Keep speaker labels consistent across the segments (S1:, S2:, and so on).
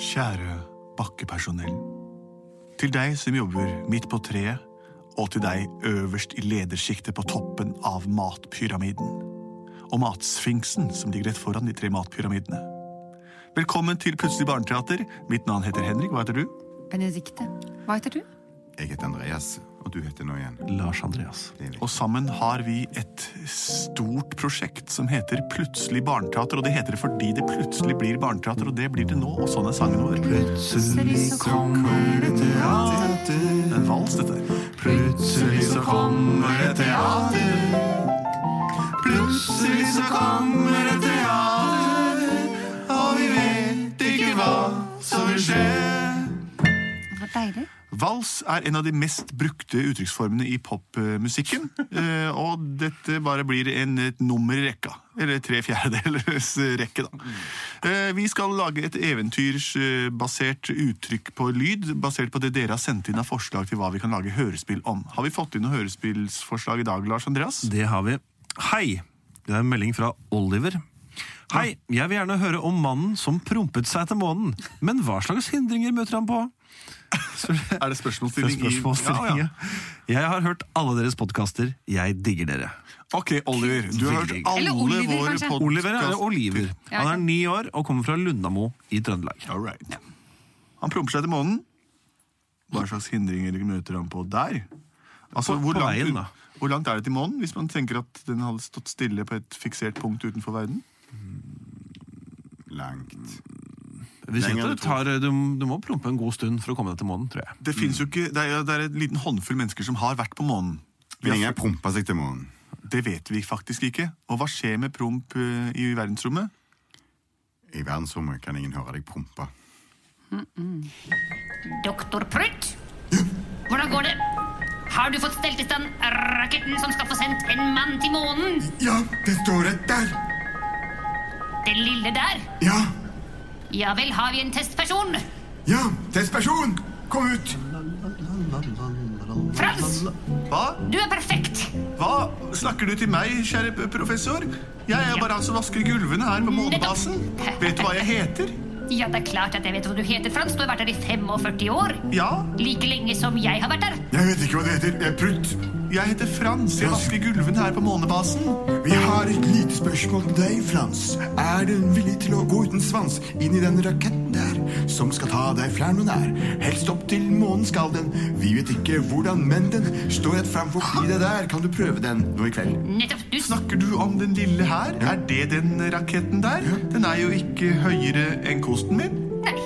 S1: Kjære bakkepersonell. Til deg som jobber midt på treet, og til deg øverst i ledersjiktet på toppen av matpyramiden. Og matsfinksen som ligger rett foran de tre matpyramidene. Velkommen til Plutselig barneteater. Mitt navn heter Henrik. Hva heter du?
S2: Benedikte. Hva heter du?
S3: Jeg heter Andreas, og du heter nå igjen.
S1: Lars Andreas.
S3: Det er riktig.
S1: Og sammen har vi et stort prosjekt som heter Plutselig barneteater. Og det heter det fordi det plutselig blir barneteater, og det blir det nå. Og sånn er sangen vår.
S2: Plutselig så kommer det
S1: Det er En vals, dette. her.
S3: Plutselig så kommer det teater. Plutselig så kommer det teater. Og vi vet ikke hva som vil skje.
S2: Det var deilig.
S1: Vals er en av de mest brukte uttrykksformene i popmusikken. eh, Og dette bare blir en, et nummer i rekka. Eller tre fjerdedelers rekke, da. Eh, Vi skal lage et eventyrsbasert uttrykk på lyd, basert på det dere har sendt inn av forslag til hva vi kan lage hørespill om. Har vi fått inn noen hørespillsforslag i dag, Lars Andreas?
S4: Det har vi. Hei! Det er en melding fra Oliver. Hei, jeg vil gjerne høre om mannen som prompet seg til månen. Men hva slags hindringer møter han
S1: Er
S4: på?
S1: det
S4: Det er
S1: spørsmålsstilling? i-
S4: spørsmålsstilling,
S1: Ja, ja.
S4: ja. Jeg har hørt alle deres podkaster. Jeg digger dere.
S1: Ok, Oliver. Du har hørt
S4: Veldig gøy.
S1: alle
S2: Eller Oliver,
S1: våre
S2: kanskje?
S1: podkast...
S4: Oliver er Oliver.
S2: Ja,
S4: Han er ni år og kommer fra Lundamo i Trøndelag.
S1: All right. Han promper seg til månen. Hva slags hindringer møter han på der? Altså,
S4: På-
S1: hvor,
S4: på
S1: langt,
S4: veien, da.
S1: hvor langt er det til månen, hvis man tenker at den hadde stått stille på et fiksert punkt utenfor verden?
S3: Langt.
S4: Vi ser
S1: Lenger
S4: at
S1: enn
S4: det tar, eh, du, du må prompe en god stund for å komme deg til månen, tror jeg.
S1: Det, finnes jo ikke, det, er, det er en liten håndfull mennesker som har vært på månen. Vi
S3: Men
S1: har,
S3: ingen prompa seg til månen.
S1: det vet vi faktisk ikke. Og hva skjer med promp eh, i verdensrommet?
S3: I verdensrommet kan ingen høre deg prompe.
S5: Doktor Prutt? Hvordan går det? Har du fått stelt i stand raketten som skal få sendt en mann til månen?
S3: Ja, det står et der!
S5: Den lille der?
S3: Ja!
S5: Ja vel, har vi en testperson?
S3: Ja! Testperson! Kom ut!
S5: Frans,
S1: Hva?
S5: du er perfekt!
S1: Hva snakker du til meg, kjære p- professor? Jeg er bare han som vasker gulvene her på månebasen.
S5: Nettopp.
S1: Vet du hva jeg heter?
S5: Ja, det er klart at jeg vet hva du heter, Frans. Du har vært her i 45 år.
S1: Ja,
S5: Like lenge som jeg har vært her.
S3: Jeg vet ikke hva det heter. Jeg er prutt.
S1: Jeg heter Frans. Jeg vasker gulvene her på månebasen.
S3: Vi har et lite spørsmål til deg, Frans. Er du villig til å gå uten svans inn i den raketten der, som skal ta deg fra noen nær? Helst opp til månen skal den. Vi vet ikke hvordan, men den står rett fram forbi deg der. Kan du prøve den nå i kveld?
S5: Nettopp. Du
S1: Snakker du om den lille her? Er det den raketten der? Den er jo ikke høyere enn kosten min.
S5: Nei.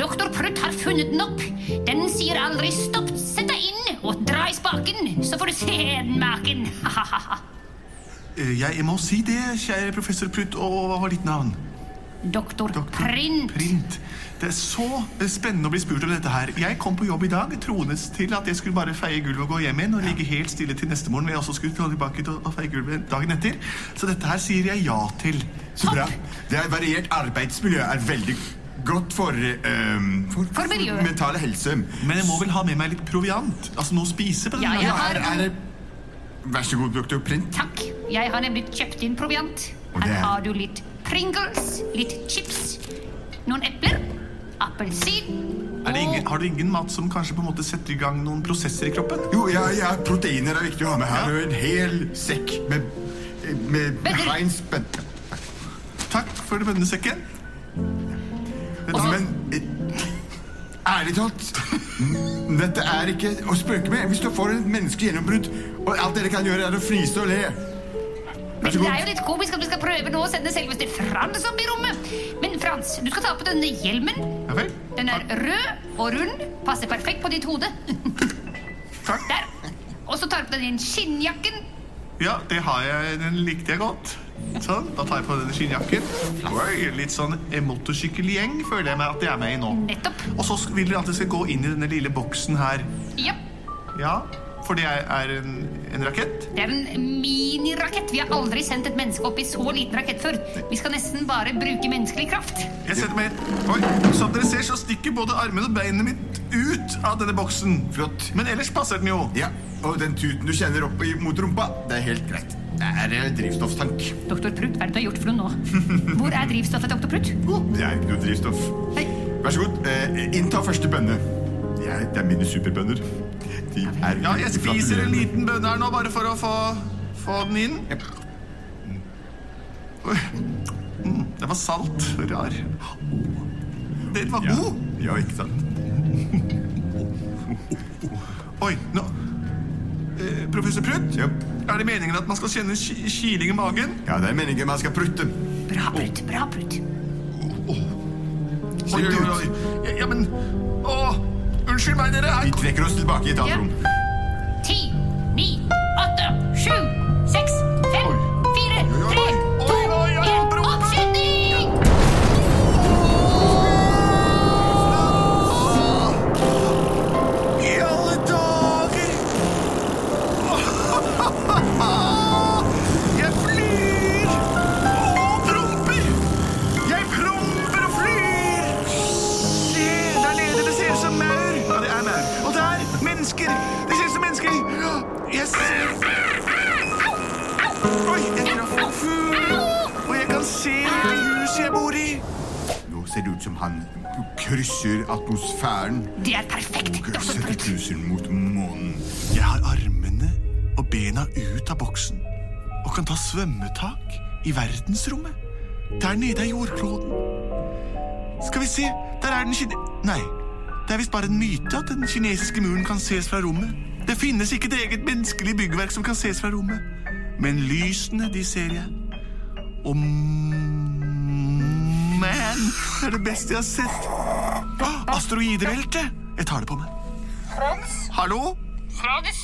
S5: Doktor Prutt har funnet den opp. Den sier aldri stopp. Sett deg inn og dra i spaken, så får du se den maken.
S1: Eh, Jeg må si det, kjære professor Prutt. Og hva var ditt navn?
S5: Doktor
S1: Doktor
S5: Print.
S1: Print. Det er så eh, spennende å bli spurt om dette her. Jeg kom på jobb i dag troende til at jeg skulle bare feie gulvet og gå hjem igjen og ligge helt stille til neste morgen. Men jeg også skulle tilbake til å- å feie gulvet dagen etter. Så dette her sier jeg ja til.
S3: Så bra. Det er variert arbeidsmiljø er veldig godt for ehm, for,
S5: For miljøet.
S3: mentale helse.
S1: Men jeg må vel ha med meg litt proviant? Altså noe å spise? på den
S5: Ja,
S1: dagen.
S5: jeg
S3: Ja,
S5: har
S3: her er det Vær så god, doktor Print.
S5: Takk. Jeg har nemlig kjøpt inn proviant.
S3: Og det
S5: Her
S3: er-
S5: har du litt Pringles, litt chips, noen epler, appelsin
S1: Er det ingen,
S5: og
S1: har du ingen mat som kanskje på en måte setter i gang noen prosesser i kroppen?
S3: Jo, ja, ja, proteiner er viktig å ha med her. Og en hel sekk med, med
S5: Vent litt.
S3: Heinz Ben-
S1: Takk for bønnesekken.
S3: Altså, men eh, ærlig talt, n- dette er ikke å spøke med. Hvis du får et menneskegjennombrudd, og alt dere kan gjøre, er å fnise og le.
S5: Men
S3: så
S5: det
S3: god.
S5: er jo litt komisk at du skal prøve nå å sende selveste Frans opp i rommet. Men Frans, du skal ta på denne hjelmen.
S1: Ja vel.
S5: Den er rød og rund, passer perfekt på ditt hode.
S1: Takk.
S5: Der. Og så tar du på deg den skinnjakken.
S1: Ja, det har jeg, den likte jeg godt. Sånn, Da tar jeg på denne skinnjakken. Oi, Litt sånn en motorsykkelgjeng føler jeg meg at jeg er med i nå.
S5: Nettopp.
S1: Og så vil dere at jeg skal gå inn i denne lille boksen her.
S5: Ja.
S1: Ja, for det er- er en, en rakett.
S5: Det er en minirakett. Vi har aldri sendt et menneske opp i så liten rakett før. Vi skal nesten bare bruke menneskelig kraft.
S1: Jeg setter meg Oi, Som dere ser, så stikker både armene og beinet mitt ut av denne boksen.
S3: Flott.
S1: Men ellers passer den jo.
S3: Ja, og den tuten du kjenner opp i- mot rumpa, det er helt greit. Det er eh, drivstofftank.
S5: Doktor Prutt, hva er det du har gjort for noe nå? Hvor er drivstoffet, doktor Prutt?
S3: Det er ikke noe drivstoff.
S5: Hei,
S3: Vær så god, eh, innta første bønne. Jeg, det er mine superbønner. De er
S1: Ja, jeg spiser en liten bønne her nå, bare for å få, få den inn. Oi. Mm, Den var salt og rar. Den var
S3: Ja.
S1: god!
S3: ja, ikke sant?
S1: Oi, nå eh, Professor Prutt?
S3: Ja.
S1: Er det meningen at man skal kjenne ki- kiling i magen?
S3: Ja, det er meningen man skal prutte.
S5: Bra brutt, bra brutt.
S1: Oi, oi, oi. Ja, Ja, men Å, unnskyld meg, dere.
S3: Vi
S1: Her
S3: trekker oss tilbake i et
S5: Ja.
S3: annet rom.
S5: Ti, ni, åtte, sju, seks, fem, fire,
S1: oi,
S5: tre,
S1: oi,
S5: to,
S1: oi, oi,
S5: en,
S1: bro, bro.
S5: oppskyting!
S1: I alle dager! Jeg flyr og promper! Jeg promper og flyr! Se, der nede, det ser ut som maur. Ja, det er maur. Og der, mennesker. Det ser ut som mennesker. Ja, Jeg ser Oi, jeg traff en fugl. Og jeg kan se det huset jeg bor i.
S3: Nå ser det ut som han krysser atmosfæren.
S5: Det er perfekt, doktor
S3: Krysser
S5: Brutt.
S3: tusen mot månen.
S1: Jeg har armene og bena ut av boksen og kan ta svømmetak i verdensrommet. Der nede er jordkloden. Skal vi se, der er den kine... Nei, det er visst bare en myte at den kinesiske muren kan ses fra rommet. Det finnes ikke et eget menneskelig byggverk som kan ses fra rommet. Men lysene, de ser jeg. Og man, det er det beste jeg har sett. Å, Asteroideveltet! Jeg tar det på meg. Hallo?
S5: Frans,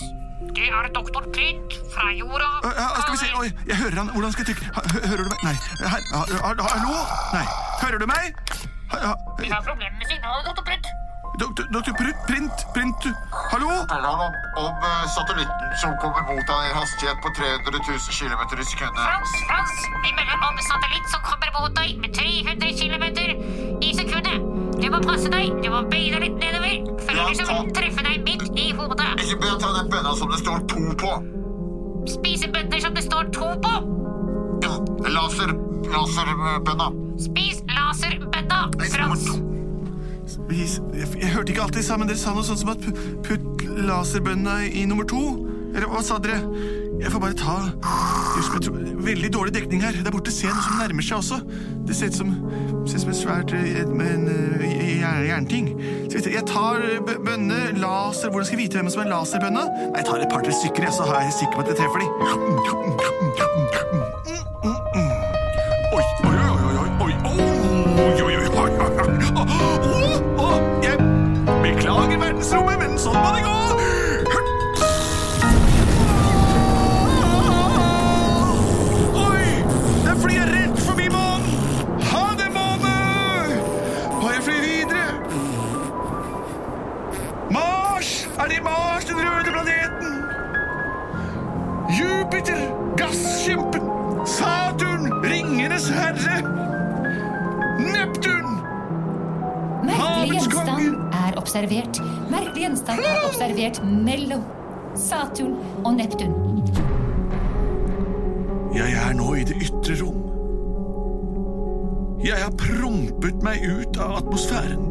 S5: det er doktor Prytt fra jorda.
S1: Ja, ja, skal vi se. Oi, jeg hører han. Hvordan skal jeg trykke? Ha- hø- Hører du meg? Nei. Her. Ha- ha- Hallo? Nei. Hører du meg? Ha- ha-
S5: har problemer med signalet, doktor Prytt.
S1: Doktor doktor Pr- Print. Print. Hallo?
S6: forteller han om, om eh, satellitten som kommer mot deg i en hastighet på 300 000 km i sekundet.
S5: Frans, Frans, vi melder om satellitt som kommer mot deg med 300 km i sekundet. Du må passe deg, du må bøye deg litt nedover, for ellers så vil den treffe deg midt i hodet.
S6: Ikke begynn å ta den bønna som det står to på.
S5: Spise bønner som det står to på.
S6: Ja, Laser, laserbønna.
S5: Spis laserbønna,
S6: Nei,
S5: Frans.
S1: Vis- Jeg, jeg hørte ikke alltid sammen. Dere sa noe sånt som at pu- putt laserbønna i nummer to. Eller hva sa dere? Jeg får bare ta Just, jeg tror, Veldig dårlig dekning her. Der borte ser jeg noe som nærmer seg også. Det ser ut som, ser ut som et svært eh, med en eh, j- j- jernting. Skal vi se, Jeg tar eh, bø- bønne, laser Hvordan skal jeg vite hvem som er laserbønna? Nei, Jeg tar et par-tre stykker, jeg, så er jeg sikker på at jeg treffer de. Oi, oi, oi, oi, oi, oi, oi, oi, oi, oi, oi, oi, oi. Åh, åh, jeg Beklager verdensrommet, men sånn må det gå! Oi! Den flyr rett forbi månen! Ha det, måne! Og jeg flyr videre. Mars! Er det Mars, den røde planeten? Jupiter, gasskjempen. Saturn, ringenes herre. Neptun!
S7: Merkelig
S1: Havets
S7: gjenstand er observert. Merkelig gjenstand er observert mellom Saturn og Neptun.
S1: Jeg er nå i det ytre rom. Jeg har prompet meg ut av atmosfæren.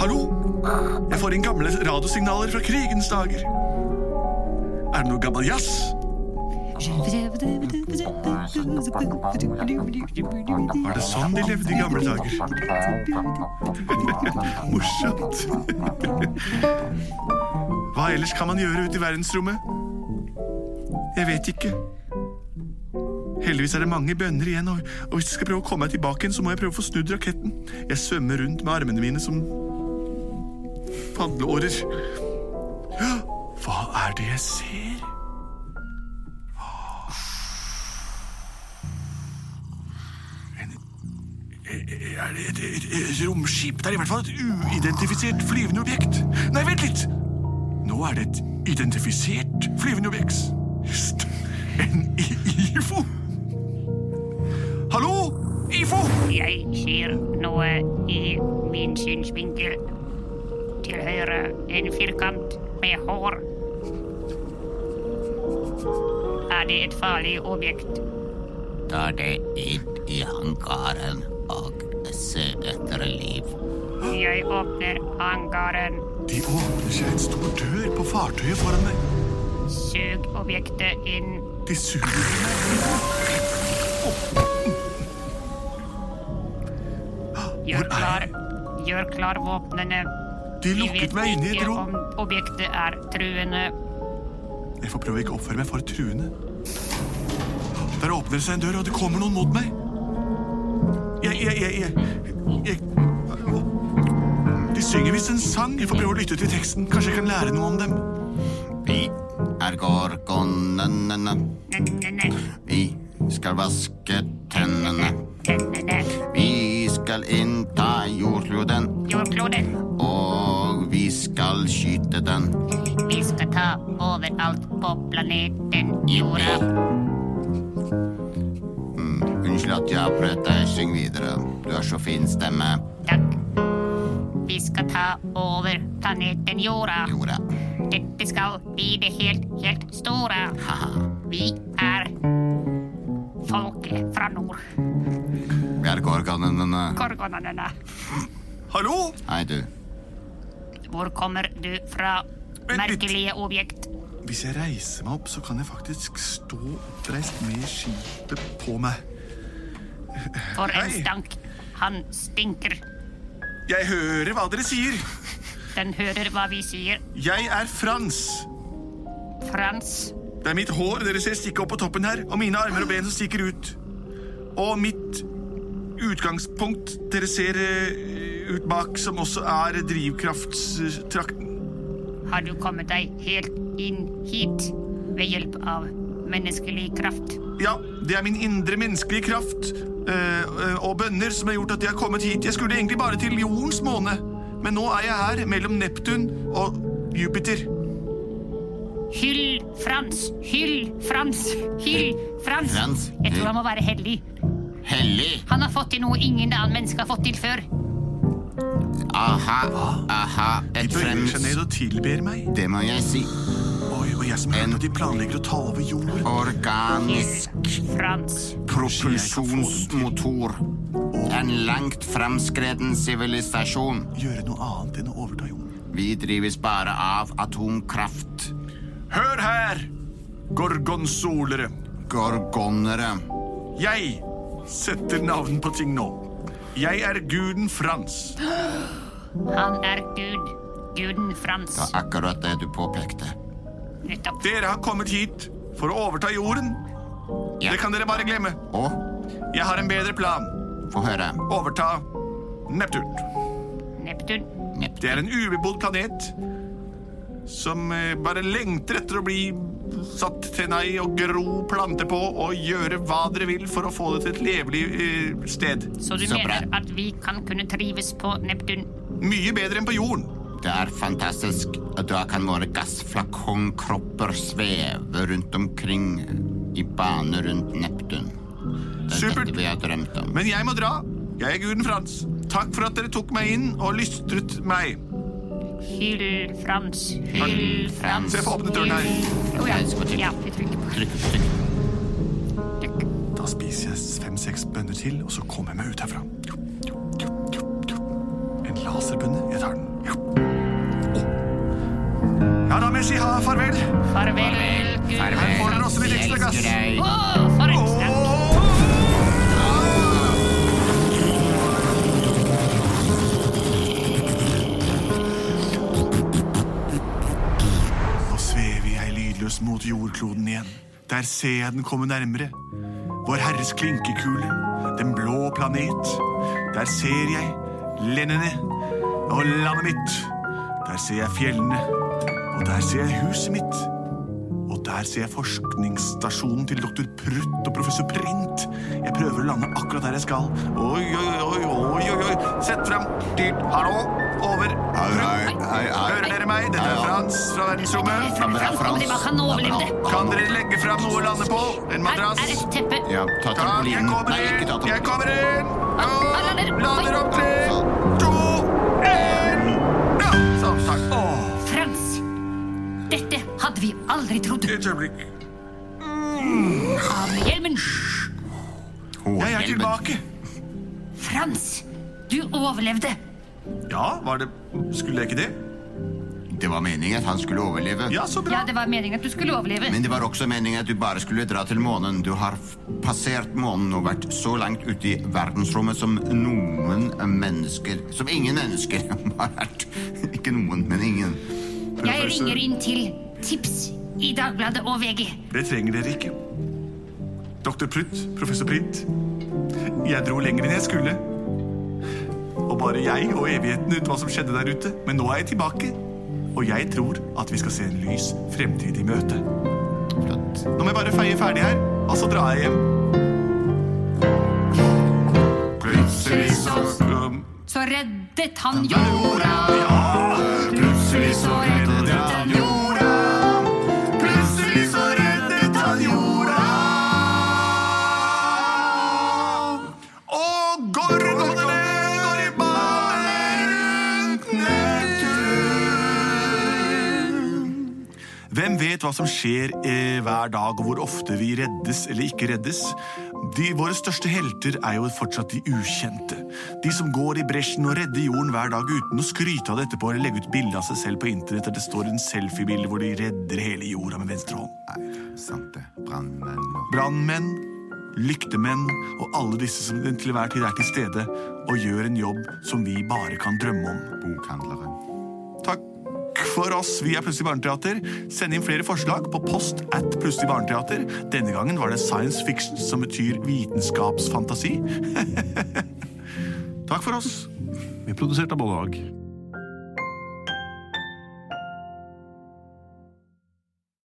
S1: Hallo? Jeg får inn gamle radiosignaler fra krigens dager. Er det noe gammel jazz? Var det sånn de levde i gamle dager? Morsomt. Hva ellers kan man gjøre ute i verdensrommet? Jeg vet ikke. Heldigvis er det mange bønner igjen, og, og hvis jeg skal prøve å komme meg tilbake igjen, så må jeg prøve å få snudd raketten. Jeg svømmer rundt med armene mine som padleårer. Hå! Hva er det jeg ser? En, er det et, et, et romskip? Det er i hvert fall et uidentifisert flyvende objekt. Nei, vent litt! Nå er det et identifisert flyvende objekt. Hst. En i- IFO. Hallo, IFO!
S8: Jeg ser noe i min synsvinkel. Til høyre en firkant med hår. Er det et farlig objekt?
S9: Da er det inn i hangaren og
S8: Jeg åpner hangaren.
S1: De åpner seg en stor dør på fartøyet foran meg.
S8: Sug objektet inn.
S1: De suger
S8: Gjør
S1: Hvor er
S8: klar, gjør klar våpnene.
S1: De
S8: Vi
S1: lukket
S8: vet
S1: meg inn i et
S8: ikke
S1: rom.
S8: om objektet er truende.
S1: Jeg får prøve å ikke oppføre meg for truende. Der åpner det seg en dør, og det kommer noen mot meg. Jeg jeg, jeg, jeg, jeg De synger visst en sang. Jeg får prøve å lytte til teksten. Kanskje jeg kan lære noe om dem.
S9: Vi er gorgonene.
S8: Ne-ne-ne,
S9: Vi skal vaske tennene.
S8: ne-ne-ne.
S9: Vi skal innta jordkloden,
S8: Jordkloden.
S9: og vi skal skyte den.
S8: Vi skal ta overalt på planeten jorda.
S9: Unnskyld at jeg avbrøt deg. Syng videre. Du har så fin stemme.
S8: Takk. Vi skal ta over planeten jorda.
S9: Jorda.
S8: Dette skal bli det helt, helt store.
S9: Haha.
S8: Vi er folket fra nord.
S9: Vi er gorgonene.
S8: Gorgonene.
S1: Hallo?
S9: Hei, du.
S8: Hvor kommer du fra?
S1: Vent litt.
S8: Merkelige objekt.
S1: Hvis jeg reiser meg opp, så kan jeg faktisk stå oppreist med skipet på meg.
S8: For en
S1: Hei.
S8: stank. Han stinker.
S1: Jeg hører hva dere sier.
S8: Den hører hva vi sier.
S1: Jeg er Frans.
S8: Frans.
S1: Det er mitt hår dere ser stikke opp på toppen her, og mine armer og ben som stikker ut. Og mitt utgangspunkt dere ser eh, ut bak, som også er drivkraftstrakten.
S8: Har du kommet deg helt inn hit ved hjelp av menneskelig kraft?
S1: Ja, det er min indre menneskelige kraft eh, eh, og bønner som har gjort at jeg har kommet hit. Jeg skulle egentlig bare til jordens måne, men nå er jeg her mellom Neptun og Jupiter.
S8: Hyll Frans! Hyll Frans! Hyll Frans!
S9: Frans,
S8: Jeg tror
S9: hyll.
S8: han må være heldig.
S9: Hellig.
S8: Han har fått til noe ingen annen menneske har fått til før.
S9: Aha. Aha.
S1: De
S9: Et
S1: bøyer seg
S9: frems...
S1: ned og tilber meg.
S9: Det må jeg si.
S1: Oi, og jeg som hørte at de planlegger å ta over jord.
S9: Organisk
S8: Hyll Frans.
S9: propulsjonsmotor. En langt fremskreden sivilisasjon.
S1: Gjøre noe annet enn å overta jorden.
S9: Vi drives bare av atomkraft.
S1: Hør her, gorgonsolere.
S9: Gorgonere.
S1: Jeg setter navn på ting nå. Jeg er guden Frans.
S8: Han er Gud. Guden Frans.
S9: Det var akkurat det du påpekte.
S8: Nettopp.
S1: Dere har kommet hit for å overta jorden.
S9: Ja.
S1: Det kan dere bare glemme.
S9: Og
S1: Jeg har en bedre plan.
S9: få høre.
S1: Overta Neptun.
S8: Neptun.
S1: Det er en ubebodd planet som eh, bare lengter etter å bli satt tenna i og gro planter på og gjøre hva dere vil for å få det til et levelig eh, sted.
S8: Så du
S9: Så bra.
S8: mener at vi kan kunne trives på Neptun?
S1: Mye bedre enn på jorden.
S9: Det er fantastisk. Da kan våre gassflakongkropper sveve rundt omkring i bane rundt Neptun. Det er
S1: Supert.
S9: dette vi har drømt om.
S1: Men jeg må dra. Jeg er guden Frans. Takk for at dere tok meg inn og lystret meg.
S8: Hyll Frans. Hyll Frans.
S1: Så jeg får åpne døren her.
S8: Å Oh, ja.
S9: Jeg skal trykke.
S8: ja, vi trykker på
S9: Trykk, trykk.
S8: trykk.
S1: Da spiser jeg fem-seks bønner til, og så kommer jeg meg ut herfra. En laserbønne. Jeg tar den. Å. Ja, da må jeg si ha farvel.
S8: Farvel, Gud.
S1: Her får dere også litt
S9: Jeg
S1: ekstra gass.
S9: elsker deg.
S8: Å, for en stank.
S1: Nå svever jeg lydløs mot jordkloden igjen. Der ser jeg den komme nærmere. Vår Herres klinkekule, den blå planet. Der ser jeg lendene og landet mitt. Der ser jeg fjellene, og der ser jeg huset mitt. Og der ser jeg forskningsstasjonen til doktor Prutt og professor Print. Jeg prøver å lande akkurat der jeg skal. Oi, oi, oi, oi, oi, oi. Sett frem. Dyrt. Hallo. Over.
S9: Hei, hei, hei,
S1: Hører
S9: hei.
S1: dere meg? Dette er
S9: Ja, ja.
S1: Frans fra verdensrommet.
S9: Frans,
S8: Frans kom tilbake, han overlevde.
S1: Kan dere legge fram noe å lande på? En
S8: Her
S1: madrass?
S8: er et teppe.
S9: Ja,
S1: Ja,
S9: ta
S1: jeg
S9: trampolinen.
S1: kommer
S9: Nei, ikke ta
S1: inn! Jeg
S9: trampolinen.
S1: kommer inn!
S8: Han lander.
S1: Ja,
S8: Oi.
S1: Lander om tre, to, én ja, Sånn, takk. Åh,
S8: Frans, dette hadde vi aldri trodd.
S1: et øyeblikk.
S8: Av med hjelmen.
S1: Jeg er tilbake.
S8: Frans, du overlevde.
S1: Ja, var det Skulle jeg ikke det?
S3: Det var meningen at han skulle overleve.
S1: Ja, så bra.
S5: Ja, det var meningen at du skulle overleve.
S3: Men det var også meningen at du bare skulle dra til månen. Du har f- passert månen og vært så langt ute i verdensrommet som noen mennesker Som ingen mennesker har vært. Ikke noen, men ingen.
S5: Jeg ringer inn til Tips i Dagbladet og VG.
S1: Det trenger dere ikke. Doktor Prutt, professor Print. Jeg dro lenger enn jeg skulle. Og bare jeg og evigheten ut hva som skjedde der ute. Men nå er jeg tilbake. Og jeg tror at vi skal se en lys fremtid i møte.
S3: Flott.
S1: Nå må jeg bare feie ferdig her, og så drar jeg hjem. Plutselig så um,
S5: Så reddet han jorda.
S1: Ja!
S5: Plutselig så reddet han jorda.
S1: Plutselig så reddet han jorda. Og gorgonene går i bane rundt Neptun. Hvem vet hva som skjer eh, hver dag, og hvor ofte vi reddes eller ikke reddes? De, våre største helter er jo fortsatt de ukjente. De som går i bresjen og redder jorden hver dag uten å skryte av det etterpå eller legge ut bilde av seg selv på internett der det står en selfiebilde hvor de redder hele jorda med venstre hånd
S3: Nei, sant det. Brannmenn og
S1: brannmenn, lyktemenn og alle disse som til hver tid er til stede og gjør en jobb som vi bare kan drømme om.
S3: bokhandlere.
S1: Takk for oss. Vi er Plutselig barneteater. Send inn flere forslag på post at Plutselig barneteater. Denne gangen var det science fiction, som betyr vitenskapsfantasi. Takk for oss.
S4: Vi er produsert av både og.